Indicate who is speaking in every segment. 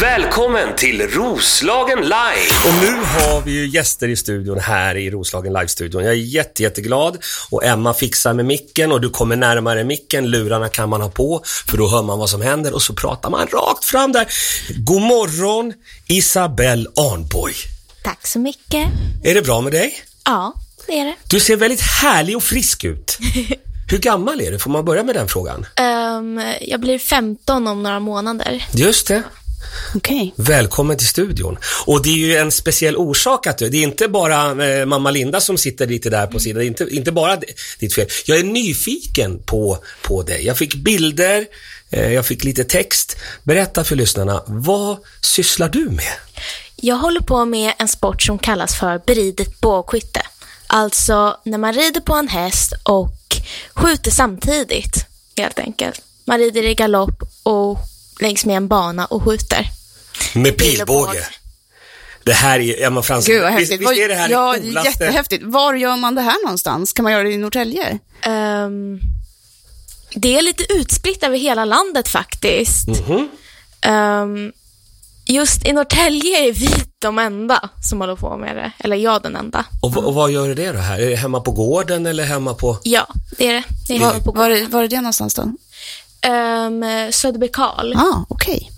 Speaker 1: Välkommen till Roslagen Live!
Speaker 2: Och nu har vi ju gäster i studion här i Roslagen Live-studion. Jag är jätte, jätteglad och Emma fixar med micken och du kommer närmare micken. Lurarna kan man ha på för då hör man vad som händer och så pratar man rakt fram där. God morgon Isabelle Arnborg.
Speaker 3: Tack så mycket.
Speaker 2: Är det bra med dig?
Speaker 3: Ja, det är det.
Speaker 2: Du ser väldigt härlig och frisk ut. Hur gammal är du? Får man börja med den frågan?
Speaker 3: Ehm, jag blir 15 om några månader.
Speaker 2: Just det.
Speaker 4: Okej.
Speaker 2: Välkommen till studion. Och det är ju en speciell orsak att du, det är inte bara eh, mamma Linda som sitter lite där på sidan, det är inte, inte bara d- ditt fel. Jag är nyfiken på, på dig. Jag fick bilder, eh, jag fick lite text. Berätta för lyssnarna, vad sysslar du med?
Speaker 3: Jag håller på med en sport som kallas för beridet bågskytte. Alltså när man rider på en häst och skjuter samtidigt, helt enkelt. Man rider i galopp och längs med en bana och skjuter.
Speaker 2: Med
Speaker 3: Pil och båge.
Speaker 2: pilbåge. Det här är, Emma Fransson,
Speaker 4: Gud vad häftigt.
Speaker 2: visst, visst är det här
Speaker 4: ja,
Speaker 2: det coolaste?
Speaker 4: jättehäftigt. Var gör man det här någonstans? Kan man göra det i Norrtälje?
Speaker 3: Ehm, det är lite utspritt över hela landet faktiskt. Ehm, just i Norrtälje är vi de enda som håller på med det. Eller jag den enda.
Speaker 2: Och, v- och vad gör du det då här? Är det hemma på gården eller hemma på...
Speaker 3: Ja, det är det. det, är
Speaker 4: Var,
Speaker 3: hemma på
Speaker 4: var, är- var är det någonstans då?
Speaker 3: um, Söderbykarl.
Speaker 4: Ja, ah, okej.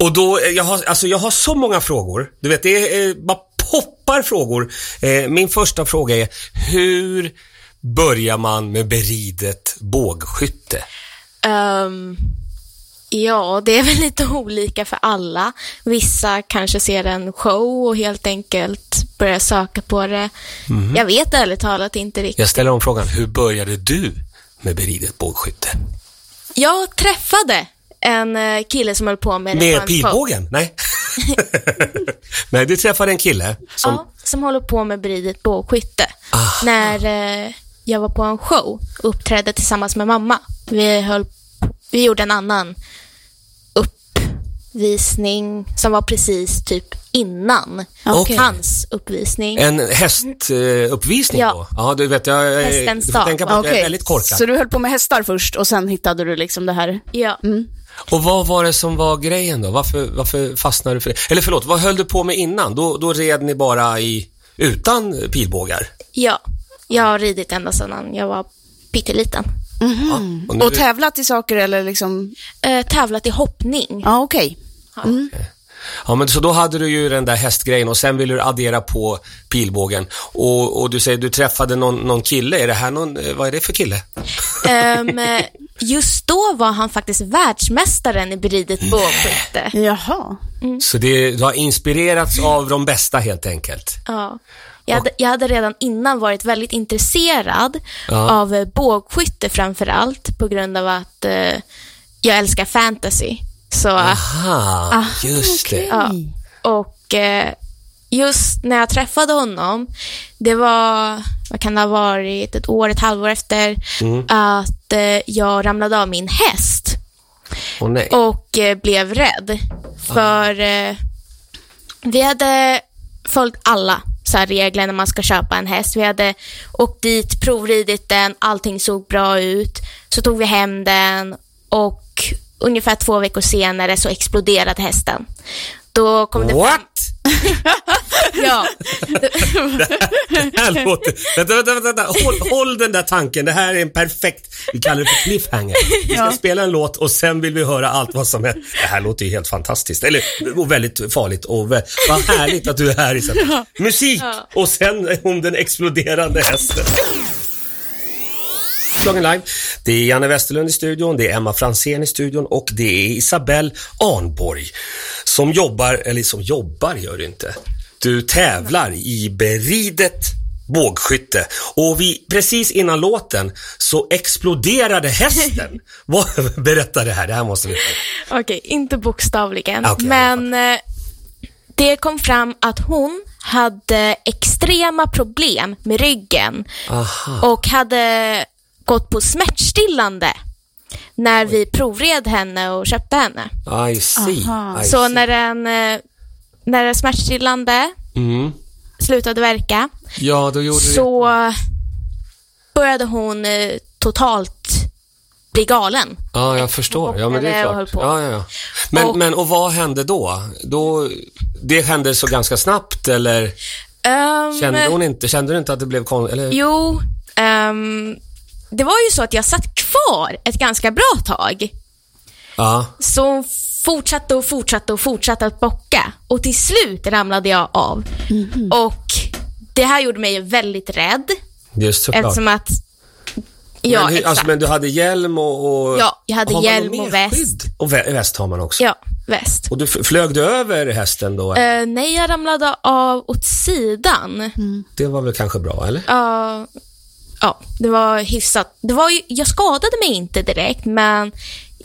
Speaker 2: Och då, eh, jag har, alltså jag har så många frågor. Du vet, det är, eh, bara poppar frågor. Eh, min första fråga är, hur börjar man med beridet bågskytte?
Speaker 3: Ehm, ja, det är väl lite olika för alla. Vissa kanske ser en show och helt enkelt börjar söka på det. Jag vet ärligt talat inte riktigt.
Speaker 2: Jag ställer om frågan, hur började du med beridet bågskytte?
Speaker 3: Jag träffade en eh, kille som höll på med det. på
Speaker 2: Med
Speaker 3: en show.
Speaker 2: pilbågen? Nej. Nej, du träffade en kille som... Ah.
Speaker 3: Ja, som håller på med beridet bågskytte.
Speaker 2: Aha.
Speaker 3: När eh, jag var på en show och uppträdde tillsammans med mamma. Vi, höll, vi gjorde en annan uppvisning som var precis typ innan
Speaker 2: Ah. Okej. Eh.
Speaker 3: hans uppvisning.
Speaker 2: En hästuppvisning
Speaker 3: Ja.
Speaker 2: då? Ja, du vet, jag, eh,
Speaker 3: Hästens
Speaker 2: du får
Speaker 3: dag.
Speaker 2: tänka på
Speaker 4: Ah,
Speaker 2: att jag är
Speaker 4: okej.
Speaker 2: väldigt korkad.
Speaker 4: Så du höll på med hästar först och sen hittade du liksom det här?
Speaker 3: Ja.
Speaker 2: Och vad var det som var grejen då? Varför, varför fastnade du för det? Eller förlåt, vad höll du på med innan? Då, då red ni bara i, utan pilbågar?
Speaker 3: ja, jag har ridit ända sedan jag var pytteliten.
Speaker 2: Ja, och nu,
Speaker 4: Mhm. Och tävlat i saker eller liksom?
Speaker 3: Eh, tävlat i hoppning.
Speaker 4: Ja, ah, okej.
Speaker 2: ja, men så då hade du ju den där hästgrejen och sen ville du addera på pilbågen. Och, och du säger du träffade någon, någon kille. Är det här någon, eh, vad är det för kille?
Speaker 3: Ehm, eh, just då var han faktiskt världsmästaren i beridet bågskytte.
Speaker 4: Jaha.
Speaker 2: Så det, du har inspirerats av de bästa helt enkelt.
Speaker 3: Ja. Jag hade, jag hade redan innan varit väldigt intresserad
Speaker 2: Ja.
Speaker 3: av eh, bågskytte framför allt på grund av att eh, jag älskar fantasy. Så,
Speaker 2: Aha, just det.
Speaker 3: ja. Och eh, just när jag träffade honom, det var, vad kan det ha varit, ett år, ett halvår efter att eh, jag ramlade av min häst
Speaker 2: Åh nej.
Speaker 3: och eh, blev rädd. För eh, vi hade följt alla så här, regler när man ska köpa en häst. Vi hade åkt dit, provridit den, allting såg bra ut. Så tog vi hem den och ungefär två veckor senare så exploderade hästen. Då kom det
Speaker 2: What?
Speaker 3: Ja,
Speaker 2: Det här låter... Vänta, vänta, vänta. vänta. Håll, håll den där tanken. Det här är en perfekt... Vi kallar det för cliffhanger. Vi ska spela en låt och sen vill vi höra allt vad som händer. Det här låter ju helt fantastiskt. Eller, och väldigt farligt. Och vä- vad härligt att du är här Isabel. Musik! Och sen om den exploderande hästen. Slagen live. Det är Janne Westerlund i studion, det är Emma Fransén i studion och det är Isabelle Arnborg som jobbar, eller som jobbar gör du inte. Du tävlar i beridet bågskytte och vi, precis innan låten så exploderade hästen. Vad- Berätta det här, det här måste vi
Speaker 3: okej, inte bokstavligen.
Speaker 2: Okej,
Speaker 3: men eh, det kom fram att hon hade extrema problem med ryggen
Speaker 2: Aha.
Speaker 3: och hade gått på smärtstillande när vi provred henne och köpte henne.
Speaker 2: I see.
Speaker 4: Aha.
Speaker 2: I
Speaker 3: Så
Speaker 2: see.
Speaker 3: när den, eh, när den smärtstillande
Speaker 2: Mm.
Speaker 3: slutade verka
Speaker 2: Ja, då gjorde du
Speaker 3: så började hon eh, totalt bli galen.
Speaker 2: Ja, jag förstår. Ja, men det är
Speaker 3: hoppade och
Speaker 2: klart.
Speaker 3: höll
Speaker 2: Ja,
Speaker 3: på.
Speaker 2: ja, ja. Men,
Speaker 3: Och-
Speaker 2: men och vad hände då? då? Det hände så ganska snabbt eller
Speaker 3: Ehm,
Speaker 2: kände hon inte, kände du inte att det blev kon eller?
Speaker 3: Jo, ehm, det var ju så att jag satt kvar ett ganska bra tag.
Speaker 2: Ja.
Speaker 3: Så hon fortsatte och fortsatte och fortsatte att bocka. Och till slut ramlade jag av. Och det här gjorde mig väldigt rädd.
Speaker 2: Just Mhm. såklart.
Speaker 3: Eftersom att... Ja,
Speaker 2: men, hur-
Speaker 3: exakt.
Speaker 2: alltså, men du hade hjälm och... och
Speaker 3: Ja, jag hade
Speaker 2: har man
Speaker 3: hjälm
Speaker 2: något
Speaker 3: och
Speaker 2: mer
Speaker 3: väst.
Speaker 2: skydd? Och vä- väst har man också.
Speaker 3: Ja, väst.
Speaker 2: Och du f- flög du över hästen då?
Speaker 3: Eh, nej, jag ramlade av åt sidan.
Speaker 2: Det var väl kanske bra, eller?
Speaker 3: Ja, ja, det var hyfsat. Det var ju, jag skadade mig inte direkt, men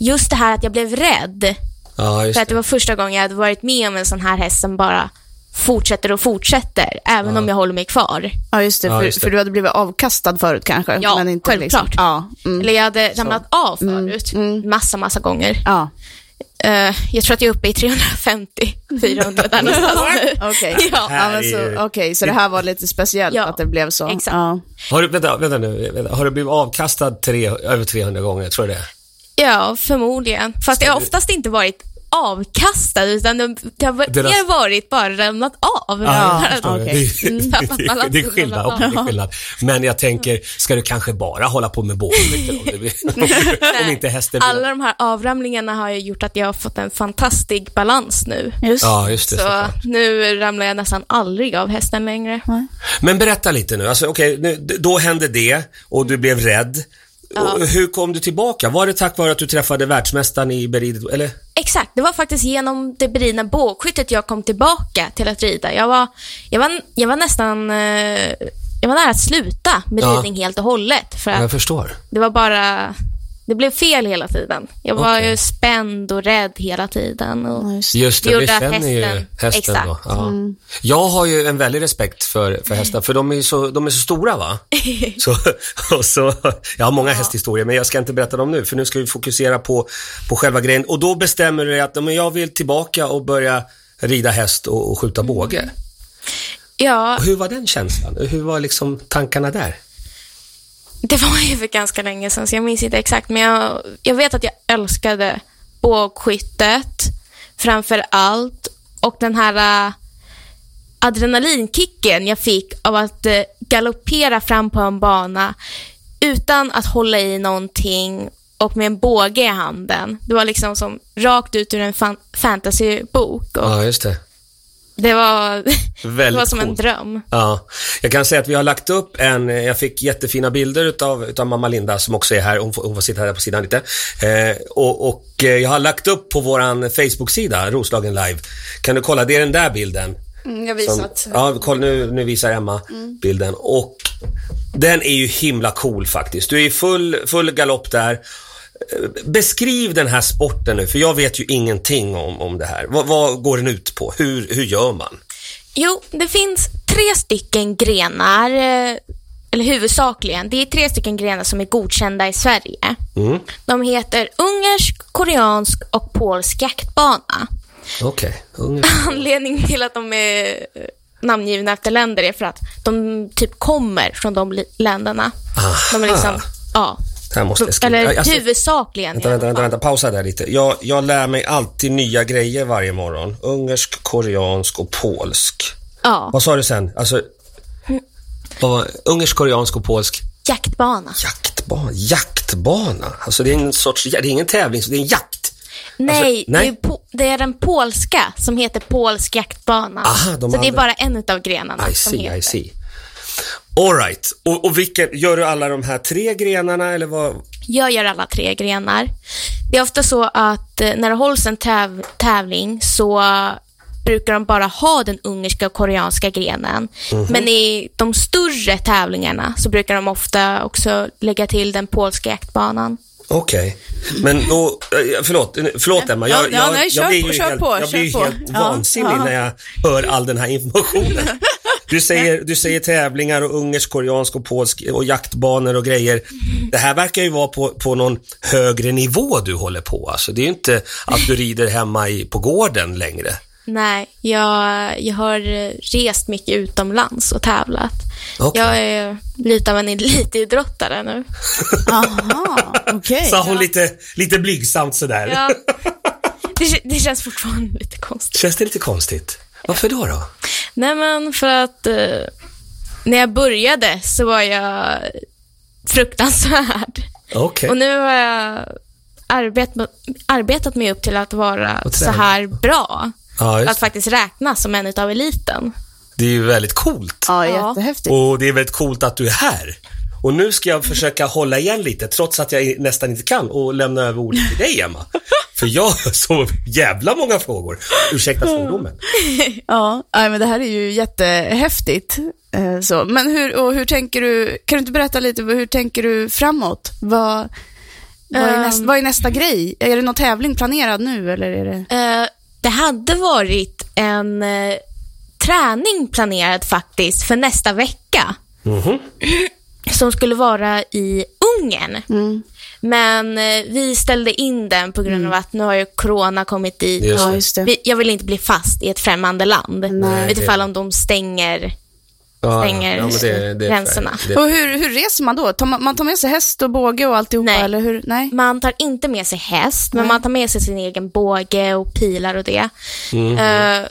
Speaker 3: just det här att jag blev rädd.
Speaker 2: Ja, just
Speaker 3: För att det
Speaker 2: det.
Speaker 3: var första gången jag hade varit med om en sån här häst som bara fortsätter och fortsätter, även om jag håller mig kvar.
Speaker 4: Ja, just det,
Speaker 2: Ja,
Speaker 4: för,
Speaker 2: just det.
Speaker 4: för du hade blivit avkastad förut kanske.
Speaker 3: Ja,
Speaker 4: men inte
Speaker 3: självklart.
Speaker 4: Liksom, ja, mm,
Speaker 3: Eller jag hade ramlat av
Speaker 2: Mm.
Speaker 3: förut, massa, massa gånger.
Speaker 4: ja.
Speaker 3: Eh, jag tror att jag är uppe i 350, 400 där någonstans nu.
Speaker 4: Okej,
Speaker 3: Ja.
Speaker 4: ja, men
Speaker 2: Här är ju-
Speaker 4: så, Alltså, okej, så det här var lite speciellt
Speaker 3: Ja,
Speaker 4: att det blev så.
Speaker 3: exakt.
Speaker 4: Ja.
Speaker 2: Har du, vänta, vänta nu. Vänta. Har du blivit avkastad tre, över 300 gånger? Tror du det?
Speaker 3: Ja, förmodligen. Fast det har oftast inte varit avkastad, utan det, det har
Speaker 2: Det där-
Speaker 3: mer varit bara ramlat av.
Speaker 2: Ja,
Speaker 3: Bara
Speaker 2: jag förstår det.
Speaker 4: okej.
Speaker 2: Det,
Speaker 3: Mm.
Speaker 2: det, det, det, är skillnad,
Speaker 3: Ja.
Speaker 2: okej, det är skillnad. Men jag tänker, ska du kanske bara hålla på med båtdräkter om, det blir- om inte hästen blir...
Speaker 3: Alla de här avramlingarna har ju gjort att jag har fått en fantastisk balans nu.
Speaker 4: Just.
Speaker 2: Ja, just det.
Speaker 3: Så
Speaker 2: såklart.
Speaker 3: nu ramlar jag nästan aldrig av hästen längre.
Speaker 2: Men berätta lite nu. Alltså, okej, nu d- då hände det och du blev rädd. Och hur kom du tillbaka? Var det tack vare att du träffade världsmästaren i berid... Eller?
Speaker 3: Exakt, det var faktiskt genom det beridna bågskyttet jag kom tillbaka till att rida. Jag var, jag var, jag var nästan eh, jag var nära att sluta med
Speaker 2: Ja.
Speaker 3: ridning helt och hållet. För att
Speaker 2: Jag förstår.
Speaker 3: Det var bara... Det blev fel hela tiden. Jag var
Speaker 2: Okej.
Speaker 3: ju spänd och rädd hela tiden. Och...
Speaker 4: Ja, just.
Speaker 2: Just det,
Speaker 3: Det
Speaker 2: vi
Speaker 3: gjorde att
Speaker 2: känner ju hästen
Speaker 3: hästen-
Speaker 2: då.
Speaker 3: exakt. Mm.
Speaker 2: Ja. Jag har ju en väldig respekt för, för hästar, för de är, ju så, de är så stora va? Så, och så, jag har många hästhistorier, men jag ska inte berätta dem nu, för nu ska vi fokusera på, på själva grejen. Och då bestämmer du dig att men jag vill tillbaka och börja rida häst och, och skjuta båge.
Speaker 3: Mm. Ja,
Speaker 2: Och hur var den känslan? Hur var liksom tankarna där?
Speaker 3: det var ju för ganska länge sedan, så jag minns inte exakt. Men jag, jag vet att jag älskade bågskyttet framför allt. Och den här äh, adrenalinkicken jag fick av att äh, galoppera fram på en bana utan att hålla i någonting och med en båge i handen. Det var liksom som rakt ut ur en fan- fantasybok. Och
Speaker 2: Ja, just det.
Speaker 3: Det var, det
Speaker 2: Väldigt
Speaker 3: var som en
Speaker 2: coolt.
Speaker 3: dröm.
Speaker 2: Ja, jag kan säga att vi har lagt upp en, eh, jag fick jättefina bilder utav, utav mamma Linda som också är här, hon får, hon får sitta här på sidan lite. Eh, och och eh, jag har lagt upp på våran Facebook-sida, Roslagen Live. Kan du kolla, det är den där bilden.
Speaker 4: Mm, jag
Speaker 2: Som,
Speaker 4: visat.
Speaker 2: ja, kolla nu, nu visar Emma bilden. Och den är ju himla cool faktiskt. Du är i full, full galopp där. Eh, Beskriv den här sporten nu, för jag vet ju ingenting om, om det här. Vad, vad går den ut på? Hur, hur gör man?
Speaker 3: Jo, det finns tre stycken grenar, eh, eller huvudsakligen. Det är tre stycken grenar som är godkända i Sverige.
Speaker 2: Mm.
Speaker 3: De heter ungersk, koreansk och polsk jaktbana.
Speaker 2: Okej, ungefär.
Speaker 3: Anledningen till att de är eh, namngivna efter länder är för att de typ kommer från de li- länderna. De är liksom, ja.
Speaker 2: Det här måste jag skriva.
Speaker 3: Eller
Speaker 2: Alltså,
Speaker 3: huvudsakligen.
Speaker 2: Vänta,
Speaker 3: i alla
Speaker 2: vänta, vänta, vänta, pausa där lite. Jag, jag lär mig alltid nya grejer varje morgon. Ungersk, koreansk och polsk.
Speaker 3: fall. Ja,
Speaker 2: Vad sa du sen? Alltså, vad var, ungersk, koreansk och polsk
Speaker 3: jaktbana.
Speaker 2: jaktbana. Jaktbana? Alltså det är en sorts, det är ingen tävling, det är en jakt.
Speaker 3: Nej,
Speaker 2: Alltså, nej.
Speaker 3: Det, är po- det är den polska som heter polsk jaktbana.
Speaker 2: Aha, de
Speaker 3: så det är
Speaker 2: andra-
Speaker 3: bara en av grenarna
Speaker 2: I
Speaker 3: som
Speaker 2: see,
Speaker 3: heter.
Speaker 2: I see. Alright, och, och vilken, gör du alla de här tre grenarna eller vad?
Speaker 3: Jag gör alla tre grenar. Det är ofta så att eh, när det hålls en täv- tävling så brukar de bara ha den ungerska och koreanska grenen.
Speaker 2: Mhm.
Speaker 3: Men i de större tävlingarna så brukar de ofta också lägga till den polska jaktbanan.
Speaker 2: Okej, men då, eh, förlåt, eh, förlåt Emma,
Speaker 4: Ja,
Speaker 2: jag,
Speaker 4: ja,
Speaker 2: jag,
Speaker 4: nej,
Speaker 2: jag
Speaker 4: kör
Speaker 2: blir
Speaker 4: på,
Speaker 2: ju
Speaker 4: kör
Speaker 2: helt,
Speaker 4: på,
Speaker 2: jag
Speaker 4: kör
Speaker 2: blir ju
Speaker 4: på.
Speaker 2: helt
Speaker 4: Ja,
Speaker 2: vansinnig
Speaker 4: ja.
Speaker 2: när jag hör all den här informationen. Du säger, du säger tävlingar och ungersk, koreansk och polsk och jaktbanor och grejer. Det här verkar ju vara på, på någon högre nivå du håller på. Alltså, det är ju inte att du rider hemma i, på gården längre.
Speaker 3: Nej, jag, jag har eh, rest mycket utomlands och tävlat.
Speaker 2: Okej.
Speaker 3: Jag är lite av en elitidrottare nu.
Speaker 4: Aha, okej.
Speaker 2: Sa hon lite, lite blygsamt sådär.
Speaker 3: Ja. Det, k- det känns fortfarande lite konstigt.
Speaker 2: Känns det lite konstigt? Varför då? då?
Speaker 3: Nej, men för att eh, när jag började så var jag fruktansvärd.
Speaker 2: Okej.
Speaker 3: Och nu har jag arbetat, arbetat mig upp till att vara
Speaker 2: Och
Speaker 3: så
Speaker 2: träna.
Speaker 3: här bra.
Speaker 2: Ja, just
Speaker 3: att faktiskt räknas som en av eliten.
Speaker 2: Det är ju väldigt coolt.
Speaker 4: Ja,
Speaker 3: Ja.
Speaker 4: jättehäftigt.
Speaker 2: Och det är väldigt coolt att du är här. Och nu ska jag försöka hålla igen lite, trots att jag nästan inte kan, och lämna över ordet till dig, Emma. För jag har så jävla många frågor. Ursäkta svordomen.
Speaker 4: Ja, nej, men det här är ju jättehäftigt. Eh, Så, men hur, och hur tänker du, kan du inte berätta lite, hur tänker du framåt? Vad, vad, är,
Speaker 3: Ehm.
Speaker 4: nästa, vad är nästa grej? Är det någon tävling planerad nu eller är det?
Speaker 3: Eh, det hade varit en eh, träning planerad faktiskt för nästa vecka.
Speaker 2: Mhm.
Speaker 3: Som skulle vara i Ungern.
Speaker 2: Mm.
Speaker 3: Men eh, vi ställde in den på grund av att nu har ju corona kommit dit.
Speaker 2: Just
Speaker 3: och
Speaker 2: det.
Speaker 4: just det.
Speaker 3: vi- Jag vill inte bli fast i ett främmande land.
Speaker 2: Nej,
Speaker 3: Utifall
Speaker 2: det-
Speaker 3: om de stänger, stänger gränserna.
Speaker 4: Och hur, hur reser man då? Tar man, man tar med sig häst och båge och alltihopa
Speaker 3: Nej.
Speaker 4: eller hur? Nej.
Speaker 3: Man tar inte med sig häst, men man tar med sig sin egen båge och pilar och det.
Speaker 2: Mm.
Speaker 3: Eh,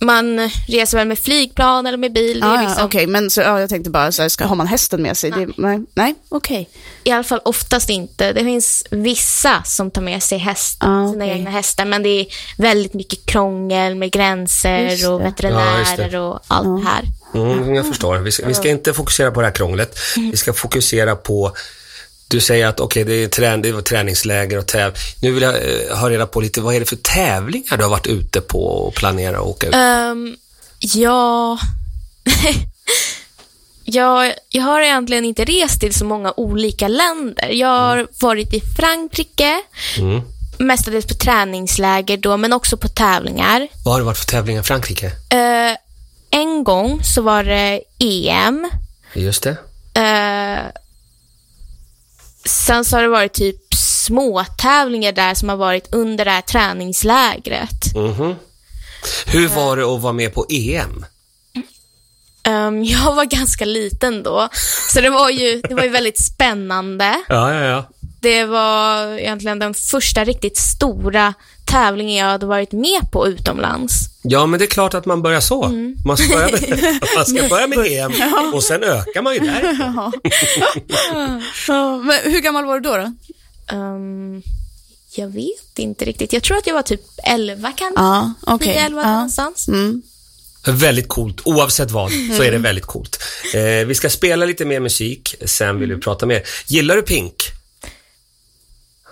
Speaker 3: man reser väl med flygplan eller med bil. Det är
Speaker 4: Ja, ja,
Speaker 3: liksom,
Speaker 4: Ah, okej, men så, ja, jag tänkte bara så här, ska, har man hästen med sig? Nej, det, nej, nej. okej.
Speaker 3: I alla fall oftast inte. Det finns vissa som tar med sig häst,
Speaker 4: Ah,
Speaker 3: sina
Speaker 4: okej.
Speaker 3: egna hästar, men det är väldigt mycket krångel med
Speaker 4: Just
Speaker 3: gränser och
Speaker 4: det.
Speaker 2: Ja, just
Speaker 3: veterinärer
Speaker 2: det.
Speaker 3: och allt det här.
Speaker 2: Mm, jag förstår. Vi ska, vi ska inte fokusera på det här krånglet. Vi ska fokusera på du säger att okej, det, är trän- det var träningsläger och täv. Nu vill jag eh, ha reda på lite, vad är det för tävlingar du har varit ute på och planerat att åka ut?
Speaker 3: Ehm, ja... jag, jag har egentligen inte rest till så många olika länder. Jag
Speaker 2: Mm.
Speaker 3: har varit i Frankrike, mestadels på träningsläger då, men också på tävlingar.
Speaker 2: Vad har det varit för tävlingar i Frankrike?
Speaker 3: Eh, en gång så var det E EM.
Speaker 2: Just det.
Speaker 3: Eh, sen så har det varit typ små tävlingar där som har varit under det här träningslägret.
Speaker 2: Mhm. Hur var det att vara med på E EM?
Speaker 3: Ehm, jag var ganska liten då, så det var ju, det var ju väldigt spännande.
Speaker 2: Ja, ja, ja.
Speaker 3: Det var egentligen den första riktigt stora tävlingen jag hade varit med på utomlands.
Speaker 2: Ja, men det är klart att man börjar så. Man, ska börja med, man ska börja med EM och sen ökar man ju där.
Speaker 4: Ja, Ah. men hur gammal var du då? då?
Speaker 3: Ehm, jag vet inte riktigt. Jag tror att jag var typ 11 kanske.
Speaker 4: Ja, okej.
Speaker 3: 10-11
Speaker 4: Ja.
Speaker 3: någonstans.
Speaker 4: Mm.
Speaker 2: Väldigt coolt. Oavsett vad så är det väldigt coolt. Eh, vi ska spela lite mer musik, sen vill vi prata mer. Gillar du Pink?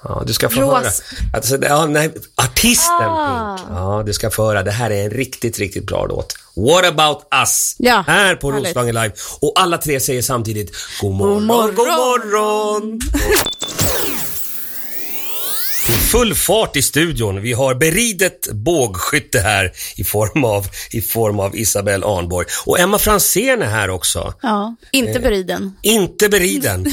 Speaker 2: Ja, du ska få
Speaker 3: Ros.
Speaker 2: höra. Alltså, det- ja, nej, artisten
Speaker 3: Ah.
Speaker 2: Pink. Ja, du ska få höra. Det här är en riktigt, riktigt bra låt. What about us?
Speaker 4: Ja,
Speaker 2: här på
Speaker 4: härligt.
Speaker 2: Roslagen Live. Och alla tre säger samtidigt god morgon, god morgon.
Speaker 4: morgon.
Speaker 2: Det är full fart i studion. Vi har beridet bågskytte här i form av, i form av Isabelle Arnborg. Och Emma Fransén är här också.
Speaker 4: Ja,
Speaker 3: Eh.
Speaker 4: inte beriden.
Speaker 2: Inte beriden.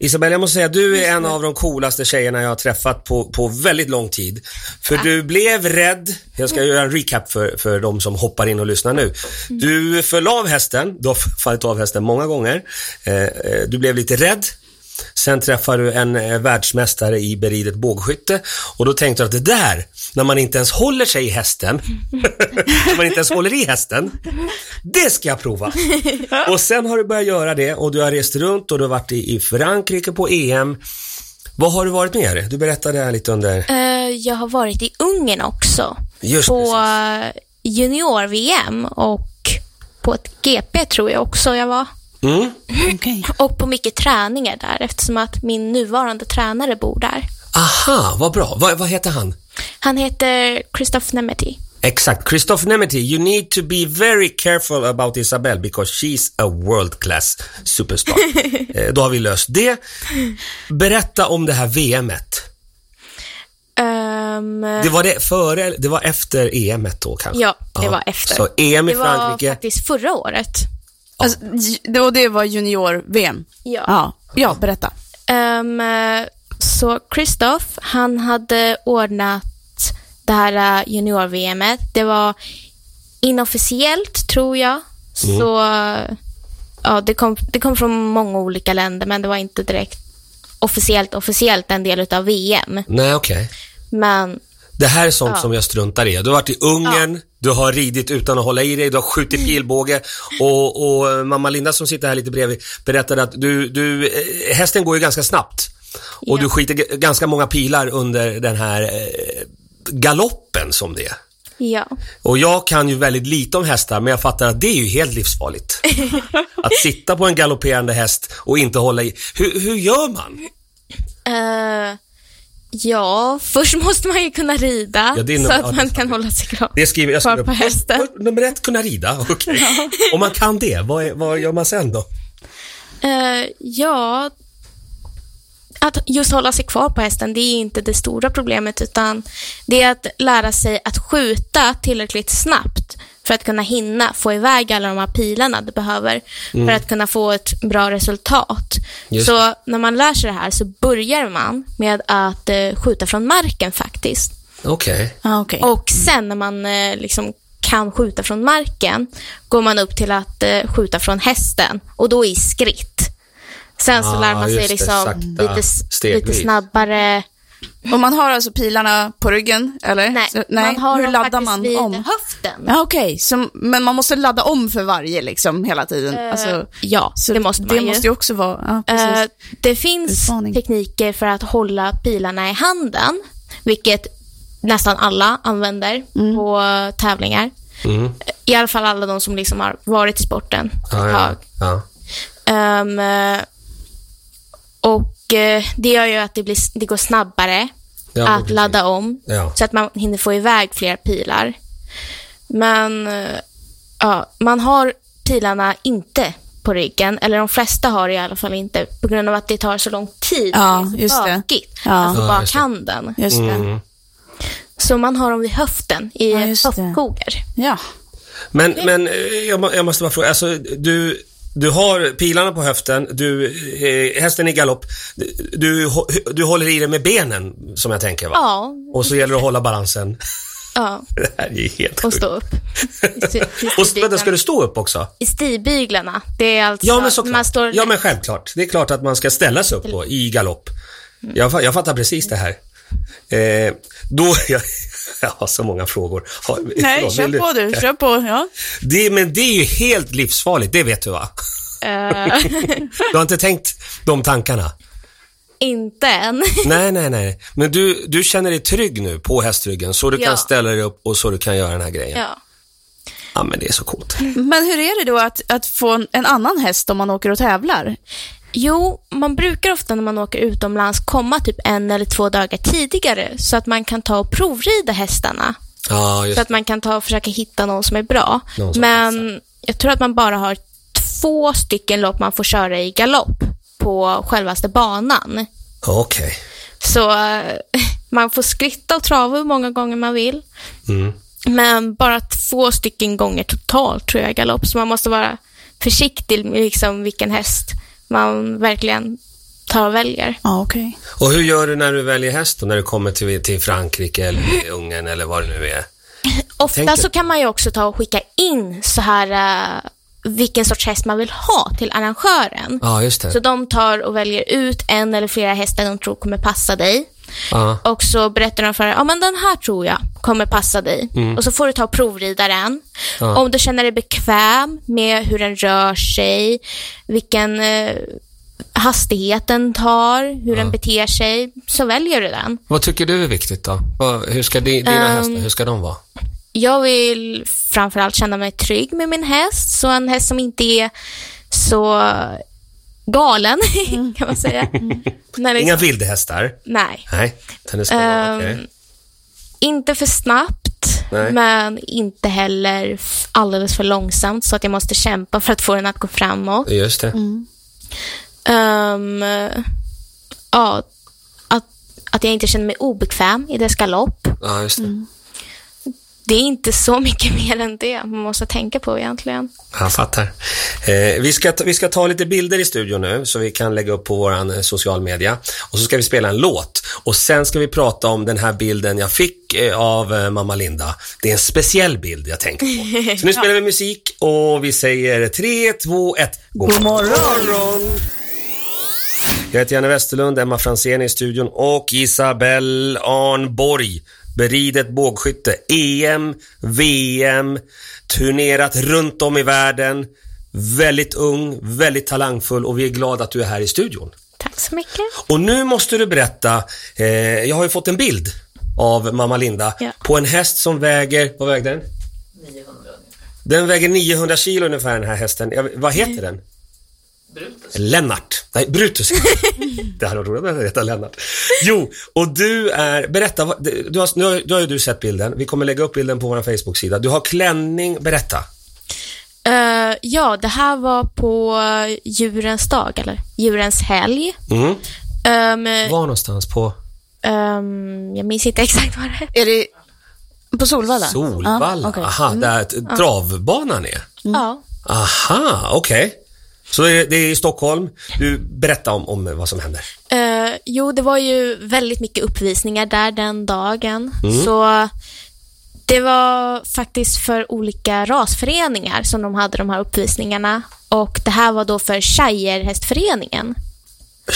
Speaker 2: Isabelle, jag måste säga du är en av de coolaste tjejerna jag har träffat på, på väldigt lång tid. För du blev rädd, jag ska göra en recap för, för de som hoppar in och lyssnar nu. Du föll av hästen, du har fallit av hästen många gånger. Eh, eh, du blev lite rädd. Sen träffade du en eh, världsmästare i beridet bågskytte och då tänkte du att det där, när man inte ens håller sig i hästen, när man inte ens håller i hästen, det ska jag prova. Och sen har du börjat göra det och du har rest runt och du har varit i, i Frankrike på EM. Vad har du varit mer? Du berättade här lite under...
Speaker 3: Eh, jag har varit i Ungern också.
Speaker 2: Just
Speaker 3: på eh, junior-VM och på ett GP tror jag också jag var.
Speaker 2: Mm.
Speaker 4: Okej.
Speaker 3: Och på mycket träningar där eftersom att min nuvarande tränare bor där.
Speaker 2: Aha, vad bra. Vad, vad heter han?
Speaker 3: Han heter Christoph Nemeti.
Speaker 2: Exakt. Christoph Nemeti, you need to be very careful about Isabelle because she's a world class superstar. eh, då har vi löst det. Berätta om det här VMet.
Speaker 3: Ehm,
Speaker 2: Det var det före, eller- det var efter EMet då kanske?
Speaker 3: Ja, det var efter.
Speaker 2: Så EM i
Speaker 3: det var
Speaker 2: Frankrike.
Speaker 3: faktiskt förra året.
Speaker 4: Alltså, j- och det var junior-VM?
Speaker 3: Ja.
Speaker 4: ja. Ja, berätta.
Speaker 3: Ehm, eh, så Christoph, han hade ordnat det här eh, junior-VMet. Det var inofficiellt, tror jag.
Speaker 2: Mm.
Speaker 3: Så eh, ja, det, kom, det kom från många olika länder, men det var inte direkt officiellt officiellt en del av VM.
Speaker 2: Nej, okej.
Speaker 3: Men
Speaker 2: Det här är sånt som jag struntar i. Du har varit i Ungern, du har ridit utan att hålla i dig, du har skjutit pilbåge och, och mamma Linda som sitter här lite bredvid berättade att du, du, eh, hästen går ju ganska snabbt och
Speaker 3: Ja.
Speaker 2: du skiter g- ganska många pilar under den här eh, galoppen som det är.
Speaker 3: ja.
Speaker 2: Och jag kan ju väldigt lite om hästar, men jag fattar att det är ju helt livsfarligt. Att sitta på en galopperande häst och inte hålla i. Hur, hur gör man?
Speaker 3: Eh, ja, först måste man ju kunna rida
Speaker 2: Ja, det är nog-
Speaker 3: så
Speaker 2: ja,
Speaker 3: att
Speaker 2: det är
Speaker 3: man
Speaker 2: sant.
Speaker 3: kan hålla sig kvar.
Speaker 2: Det skriver jag.
Speaker 3: Kvar
Speaker 2: Skriver,
Speaker 3: på hästen.
Speaker 2: Oj, Nummer ett, kunna rida. Okej. Om man kan det, vad, är, vad gör man sen då?
Speaker 3: Eh, ja, att just hålla sig kvar på hästen, det är inte det stora problemet, utan det är att lära sig att skjuta tillräckligt snabbt för att kunna hinna få iväg alla de här pilarna du behöver för att kunna få ett bra resultat.
Speaker 2: Just
Speaker 3: Så när man lär sig det här så börjar man med att eh, skjuta från marken faktiskt.
Speaker 2: Okej.
Speaker 4: Ah, okay.
Speaker 3: Och sen när man eh, liksom kan skjuta från marken går man upp till att eh, skjuta från hästen och då i skritt. Sen så
Speaker 2: Ah,
Speaker 3: lär man sig
Speaker 2: just det, sakta,
Speaker 3: liksom lite, s-
Speaker 2: stegvis.
Speaker 3: lite snabbare.
Speaker 4: Och man har alltså pilarna på ryggen, eller?
Speaker 3: Nej,
Speaker 4: Eh, Så, nej.
Speaker 3: man har
Speaker 4: Hur
Speaker 3: dem
Speaker 4: laddar
Speaker 3: faktiskt
Speaker 4: man
Speaker 3: vid
Speaker 4: om?
Speaker 3: höften.
Speaker 4: Ja, okej. Så- Men man måste ladda om för varje liksom hela tiden? alltså,
Speaker 3: Eh, ja,
Speaker 4: så
Speaker 3: det måste man
Speaker 4: Det
Speaker 3: ju.
Speaker 4: måste ju också vara... Ja, precis.
Speaker 3: Eh, det finns
Speaker 4: Utmaning.
Speaker 3: tekniker för att hålla pilarna i handen, vilket nästan alla använder
Speaker 4: Mm.
Speaker 3: på tävlingar.
Speaker 2: Mm.
Speaker 3: I alla fall alla de som liksom har varit i sporten ett
Speaker 2: Ah, Ja,
Speaker 3: tag.
Speaker 2: ja, ja.
Speaker 3: Ehm, eh, och eh, det gör ju att det, blir, det går snabbare
Speaker 2: Ja,
Speaker 3: att
Speaker 2: precis.
Speaker 3: ladda om,
Speaker 2: Ja.
Speaker 3: så att man hinner få iväg fler pilar. Men eh, ja, man har pilarna inte på ryggen, eller de flesta har i alla fall inte, på grund av att det tar så lång tid.
Speaker 4: Ja,
Speaker 3: det är
Speaker 4: just
Speaker 3: så
Speaker 4: det.
Speaker 3: bökigt.
Speaker 4: Ja.
Speaker 3: Alltså
Speaker 2: Ja, just det.
Speaker 3: bakhanden.
Speaker 4: Just det.
Speaker 3: Så man har dem vid höften, i
Speaker 4: Ja,
Speaker 3: ett
Speaker 4: just det.
Speaker 3: höftkoger.
Speaker 4: Ja.
Speaker 2: Men, men eh, jag, må- jag måste bara fråga, alltså, du, du har pilarna på höften, du, eh, hästen i galopp, du, du, hå- du håller i dig med benen som jag tänker va?
Speaker 3: Ja,
Speaker 2: Och så gäller det att hålla balansen.
Speaker 3: ja,
Speaker 2: Det här är ju helt
Speaker 3: och
Speaker 2: sjukt.
Speaker 3: stå upp.
Speaker 2: Och s- vänta, ska du stå upp också?
Speaker 3: I stigbyglarna, det är alltså...
Speaker 2: Ja men såklart.
Speaker 3: Man står
Speaker 2: Ja men självklart. Det är klart att man ska ställa sig upp då, i galopp.
Speaker 3: Mm.
Speaker 2: Jag, fa- jag fattar precis det här. Eh, då, jag, jag har så många frågor. Har-
Speaker 4: Nej,
Speaker 2: förlåt,
Speaker 4: kör
Speaker 2: vill
Speaker 4: på du. Kör på. Ja.
Speaker 2: Det, men det är ju helt livsfarligt, det vet du va? Du har inte tänkt de tankarna?
Speaker 3: inte än.
Speaker 2: Nej, nej, nej. Men du, du känner dig trygg nu på hästryggen, så du
Speaker 3: Ja.
Speaker 2: kan ställa dig upp och så du kan göra den här grejen. Ja,
Speaker 3: ja.
Speaker 2: men det är så coolt.
Speaker 4: Men hur är det då att, att få en, en annan häst om man åker och tävlar?
Speaker 3: Jo, man brukar ofta när man åker utomlands komma typ en eller två dagar tidigare så att man kan ta och provrida hästarna.
Speaker 2: Ja, just
Speaker 3: Så att man kan ta och försöka hitta någon som är bra.
Speaker 2: Någon som
Speaker 3: Men jag tror att man bara har två stycken lopp man får köra i galopp på självaste banan.
Speaker 2: Okej.
Speaker 3: Så eh, man får skritta och trava hur många gånger man vill.
Speaker 2: Mm.
Speaker 3: Men bara två stycken gånger totalt tror jag i galopp, så man måste vara försiktig med liksom vilken häst man verkligen tar och väljer.
Speaker 4: Ja, okej.
Speaker 2: Och hur gör du när du väljer häst då, när du kommer till, till Frankrike eller Ungern eller vad det nu är?
Speaker 3: Ofta
Speaker 2: tänker-
Speaker 3: så kan man ju också ta och skicka in så här eh, vilken sorts häst man vill ha till arrangören.
Speaker 2: Ja, just det.
Speaker 3: Så de tar och väljer ut en eller flera hästar de tror kommer passa dig.
Speaker 2: Ja.
Speaker 3: Och så berättar de för dig, ja men den här tror jag kommer passa dig. Och så får du ta och provrida den. Om du känner dig bekväm med hur den rör sig, vilken eh, hastighet den tar, hur den beter sig, så väljer du den.
Speaker 2: Vad tycker du är viktigt då? Vad- Hur ska di, dina
Speaker 3: Ehm,
Speaker 2: hästar, hur ska de vara?
Speaker 3: Jag vill framförallt känna mig trygg med min häst, så en häst som inte är så galen, kan man säga. När liksom,
Speaker 2: Inga vildhästar?
Speaker 3: Nej.
Speaker 2: Nej. Den är spännande.
Speaker 3: Ehm,
Speaker 2: okej.
Speaker 3: Inte för snabbt,
Speaker 2: Nej.
Speaker 3: men inte heller f- alldeles för långsamt så att jag måste kämpa för att få den att gå framåt.
Speaker 2: Just det.
Speaker 3: mm. Ehm, ja, att, att jag inte känner mig obekväm i dess galopp.
Speaker 2: Ja, just det.
Speaker 3: det är inte så mycket mer än det man måste tänka på egentligen.
Speaker 2: Jag fattar. Eh, vi, ska ta, vi ska ta lite bilder i studion nu så vi kan lägga upp på vår social media. Och så ska vi spela en låt och sen ska vi prata om den här bilden jag fick eh, av eh, mamma Linda. Det är en speciell bild jag tänker på. Så nu spelar vi musik och vi säger 3, 2, 1.
Speaker 4: God
Speaker 2: morgon! Jag heter Janne Westerlund, Emma Franzén är i studion och Isabelle Arnborg. Beridet bågskytte, E EM, VM, turnerat runt om i världen. Väldigt ung, väldigt talangfull och vi är glada att du är här i studion.
Speaker 3: Tack så mycket.
Speaker 2: Och nu måste du berätta, eh, jag har ju fått en bild av mamma Linda
Speaker 3: Ja.
Speaker 2: på en häst som väger, vad vägde den? 900 Den väger 900 kilo ungefär den här hästen. Jag, vad heter den? Brutus. Lennart. Nej, Brutus. det här var roligt att heta Lennart. Jo, och du är, berätta, vad- du har, nu har, nu har ju du sett bilden. Vi kommer lägga upp bilden på vår Facebook-sida. Du har klänning, berätta.
Speaker 3: Eh, ja, det här var på djurens dag, eller djurens helg.
Speaker 2: Mm.
Speaker 4: Eh.
Speaker 3: Ehm,
Speaker 2: Var någonstans på
Speaker 3: ehm, jag minns inte exakt vad det är.
Speaker 4: Är det på Solvalla?
Speaker 2: Solvalla?
Speaker 4: Ja, okej. Mm.
Speaker 2: Aha, där t- travbanan är.
Speaker 3: Ja.
Speaker 2: Aha, okej. Så det är, det är i Stockholm. Du, berätta om, om vad som händer.
Speaker 3: Eh, jo, det var ju väldigt mycket uppvisningar där den dagen. Så det var faktiskt för olika rasföreningar som de hade de här uppvisningarna. Och det här var då för Shire-hästföreningen.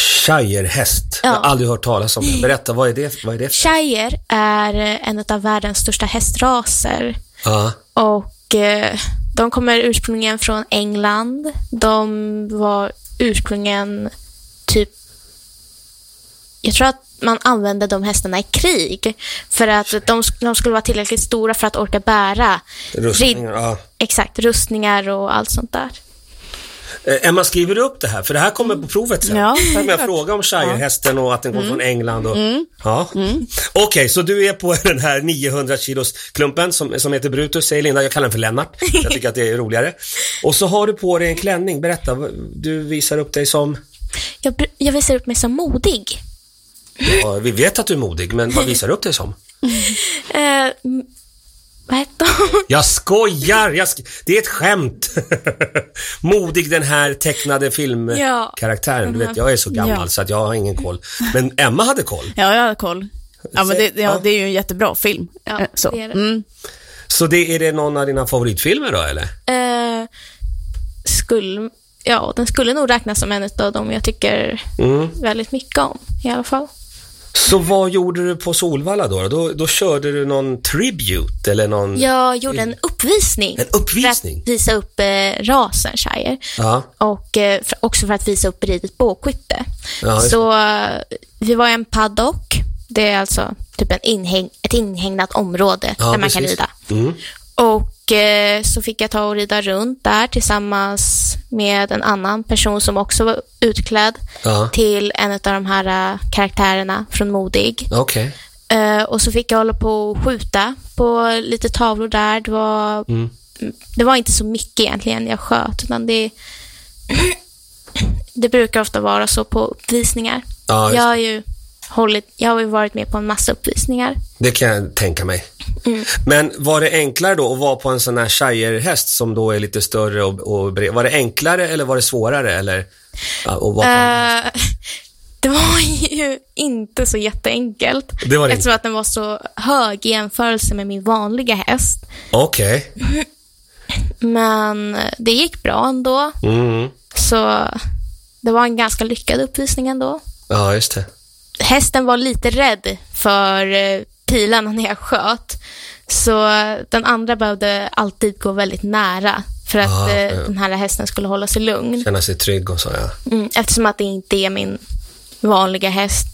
Speaker 2: Shirehäst. Jag har
Speaker 3: Ja.
Speaker 2: aldrig hört talas om det. Berätta, vad är det? Vad är det? för-
Speaker 3: Shire är eh, en av världens största hästraser.
Speaker 2: Ja.
Speaker 3: Och eh, de kommer ursprungligen från England. De var ursprungligen typ... Jag tror att man använde de hästarna i krig för att de, sk- de skulle vara tillräckligt stora för att orka bära
Speaker 2: Rustningar, ja.
Speaker 3: exakt, rustningar och allt sånt där.
Speaker 2: Eh, Emma, skriver du upp det här? För det här kommer på provet sen.
Speaker 4: Ja,
Speaker 2: Kommer jag fråga om Shirehästen och att den kommer från England? Och... Ja. Okej, så du är på den här 900 kilos klumpen som, som heter Brutus, säger Linda. Jag kallar den för Lennart. Jag tycker att det är roligare. Och så har du på dig en klänning. Berätta, v- du visar upp dig som...
Speaker 3: Jag, br- jag visar upp mig som modig.
Speaker 2: Ja, vi vet att du är modig, men vad visar du upp dig som?
Speaker 3: Eh, m- vad hette hon?
Speaker 2: Jag skojar! Jag sk- det är ett skämt! Modig den här tecknade
Speaker 3: Ja.
Speaker 2: filmkaraktären. Du vet, jag är så gammal
Speaker 4: Ja.
Speaker 2: så att jag har ingen koll. Men Emma hade koll.
Speaker 4: Ja, jag har koll. Ja, men det,
Speaker 2: Ja.
Speaker 4: ja, det är ju en jättebra film.
Speaker 3: Ja,
Speaker 4: Eh, Så.
Speaker 3: det är det.
Speaker 4: Mm.
Speaker 2: Så det, är det någon av dina favoritfilmer då, eller?
Speaker 3: Eh, skulle, ja, den skulle nog räknas som en av dem jag tycker
Speaker 2: Mm.
Speaker 3: väldigt mycket om i alla fall.
Speaker 2: Så vad gjorde du på Solvalla då? Då, då körde du någon tribute eller någon...
Speaker 3: Jag gjorde en uppvisning.
Speaker 2: Mm. En uppvisning?
Speaker 3: För att visa upp eh, rasen shire.
Speaker 2: Ja.
Speaker 3: Och eh, för, också för att visa upp ridet bågskytte.
Speaker 2: Ja, just
Speaker 3: så eh, vi var i en paddock. Det är alltså typ en inhäng, ett inhägnat område
Speaker 2: Ja,
Speaker 3: där man kan
Speaker 2: precis.
Speaker 3: rida.
Speaker 2: Mm.
Speaker 3: Och eh, så fick jag ta och rida runt där tillsammans med en annan person som också var utklädd
Speaker 2: Ja.
Speaker 3: till en av de här eh, karaktärerna från Modig.
Speaker 2: Okej.
Speaker 3: Eh, och så fick jag hålla på och skjuta på lite tavlor där. Det var,
Speaker 2: Mm.
Speaker 3: mm, det var inte så mycket egentligen jag sköt, utan det, det brukar ofta vara så på uppvisningar.
Speaker 2: Ja, just
Speaker 3: jag,
Speaker 2: det.
Speaker 3: har ju hållit, jag har ju varit med på en massa uppvisningar.
Speaker 2: Det kan jag tänka mig.
Speaker 3: Mm.
Speaker 2: Men var det enklare då att vara på en sån här shirehäst som då är lite större och, och bred? Var det enklare eller var det svårare? Eller, ja, och vad
Speaker 3: Eh, det var ju inte så jätteenkelt.
Speaker 2: Det var det
Speaker 3: eftersom att den var så hög i jämförelse med min vanliga häst.
Speaker 2: Okej.
Speaker 3: Men det gick bra ändå.
Speaker 2: Mm.
Speaker 3: Så det var en ganska lyckad uppvisning ändå.
Speaker 2: Ja, just det.
Speaker 3: hästen var lite rädd för eh, pilarna när jag sköt. Så eh, den andra behövde alltid gå väldigt nära för att
Speaker 2: Ah,
Speaker 3: eh,
Speaker 2: ja.
Speaker 3: den här hästen skulle hålla sig lugn.
Speaker 2: Känna sig trygg och så, ja.
Speaker 3: Mm, eftersom att det inte är min vanliga häst.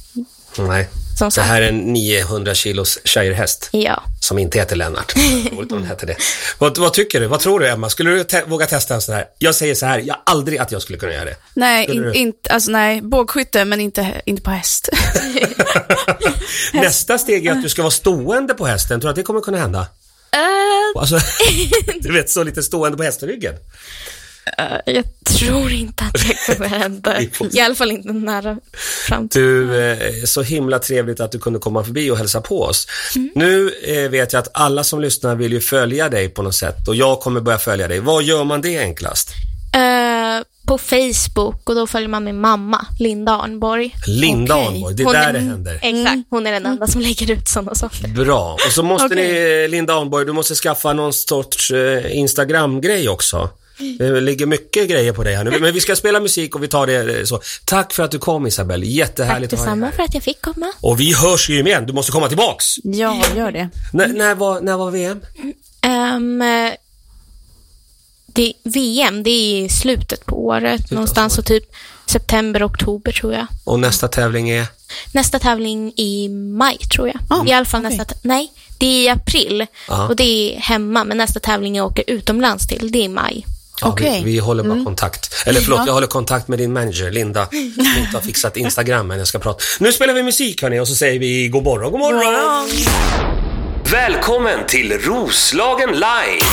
Speaker 2: Nej.
Speaker 3: Som
Speaker 2: Det
Speaker 3: sagt,
Speaker 2: här är en 900 kilos shirehäst
Speaker 3: ja.
Speaker 2: som inte heter Lennart. Roligt om den heter det. Vad, vad tycker du? Vad tror du, Emma? Skulle du te- våga testa en sån här? Jag säger så här, jag aldrig att jag skulle kunna göra det.
Speaker 4: Nej,
Speaker 2: Skulle du-
Speaker 4: in, inte, alltså, nej, bågskytte, men inte, inte på häst.
Speaker 2: Nästa steg är att du ska vara stående på hästen. Tror du att det kommer kunna hända?
Speaker 3: Eh,
Speaker 2: Alltså, du vet, så lite stående på hästryggen.
Speaker 3: Eh, Jag tror inte att det kommer hända. I alla fall inte nära framtid.
Speaker 2: Du, eh, så himla trevligt att du kunde komma förbi och hälsa på oss.
Speaker 3: Mm.
Speaker 2: Nu eh, vet jag att alla som lyssnar vill ju följa dig på något sätt och jag kommer börja följa dig. Vad gör man det enklast?
Speaker 3: Eh, på Facebook och då följer man min mamma, Linda Arnborg.
Speaker 2: Linda
Speaker 4: Okej.
Speaker 2: Arnborg, det är
Speaker 3: Hon
Speaker 2: där
Speaker 3: är-
Speaker 2: det händer.
Speaker 3: Exakt, hon är den enda som lägger ut sådana saker.
Speaker 2: Bra. Och så måste
Speaker 4: Okej.
Speaker 2: ni, eh, Linda Arnborg, du måste skaffa någon sorts eh, Instagram-grej också. Det ligger mycket grejer på dig här nu, men vi ska spela musik och vi tar det eh, så. Tack för att du kom Isabel,
Speaker 3: Tack
Speaker 2: jättehärligt att ha dig
Speaker 3: detsamma
Speaker 2: här.
Speaker 3: för att jag fick komma.
Speaker 2: Och vi hörs ju igen, du måste komma tillbaks.
Speaker 4: Ja, gör det.
Speaker 2: När, när, var, när var VM?
Speaker 3: Ehm, eh, det, VM, det är i slutet på året. Någonstans så typ september, oktober tror jag.
Speaker 2: Och nästa tävling är?
Speaker 3: Nästa tävling i maj tror jag.
Speaker 4: Ah,
Speaker 3: I alla fall
Speaker 4: okej.
Speaker 3: nästa, t- nej, det är i april
Speaker 2: Ja.
Speaker 3: och det är hemma, men nästa tävling jag åker utomlands till, det är i maj.
Speaker 2: Ja,
Speaker 4: Okej.
Speaker 2: vi, vi håller bara kontakt. Eller förlåt,
Speaker 4: Ja.
Speaker 2: jag håller kontakt med din manager Linda, som inte har fixat Instagram, men jag ska prata. Nu spelar vi musik hörni och så säger vi god morgon, god morgon.
Speaker 1: Välkommen till Roslagen live!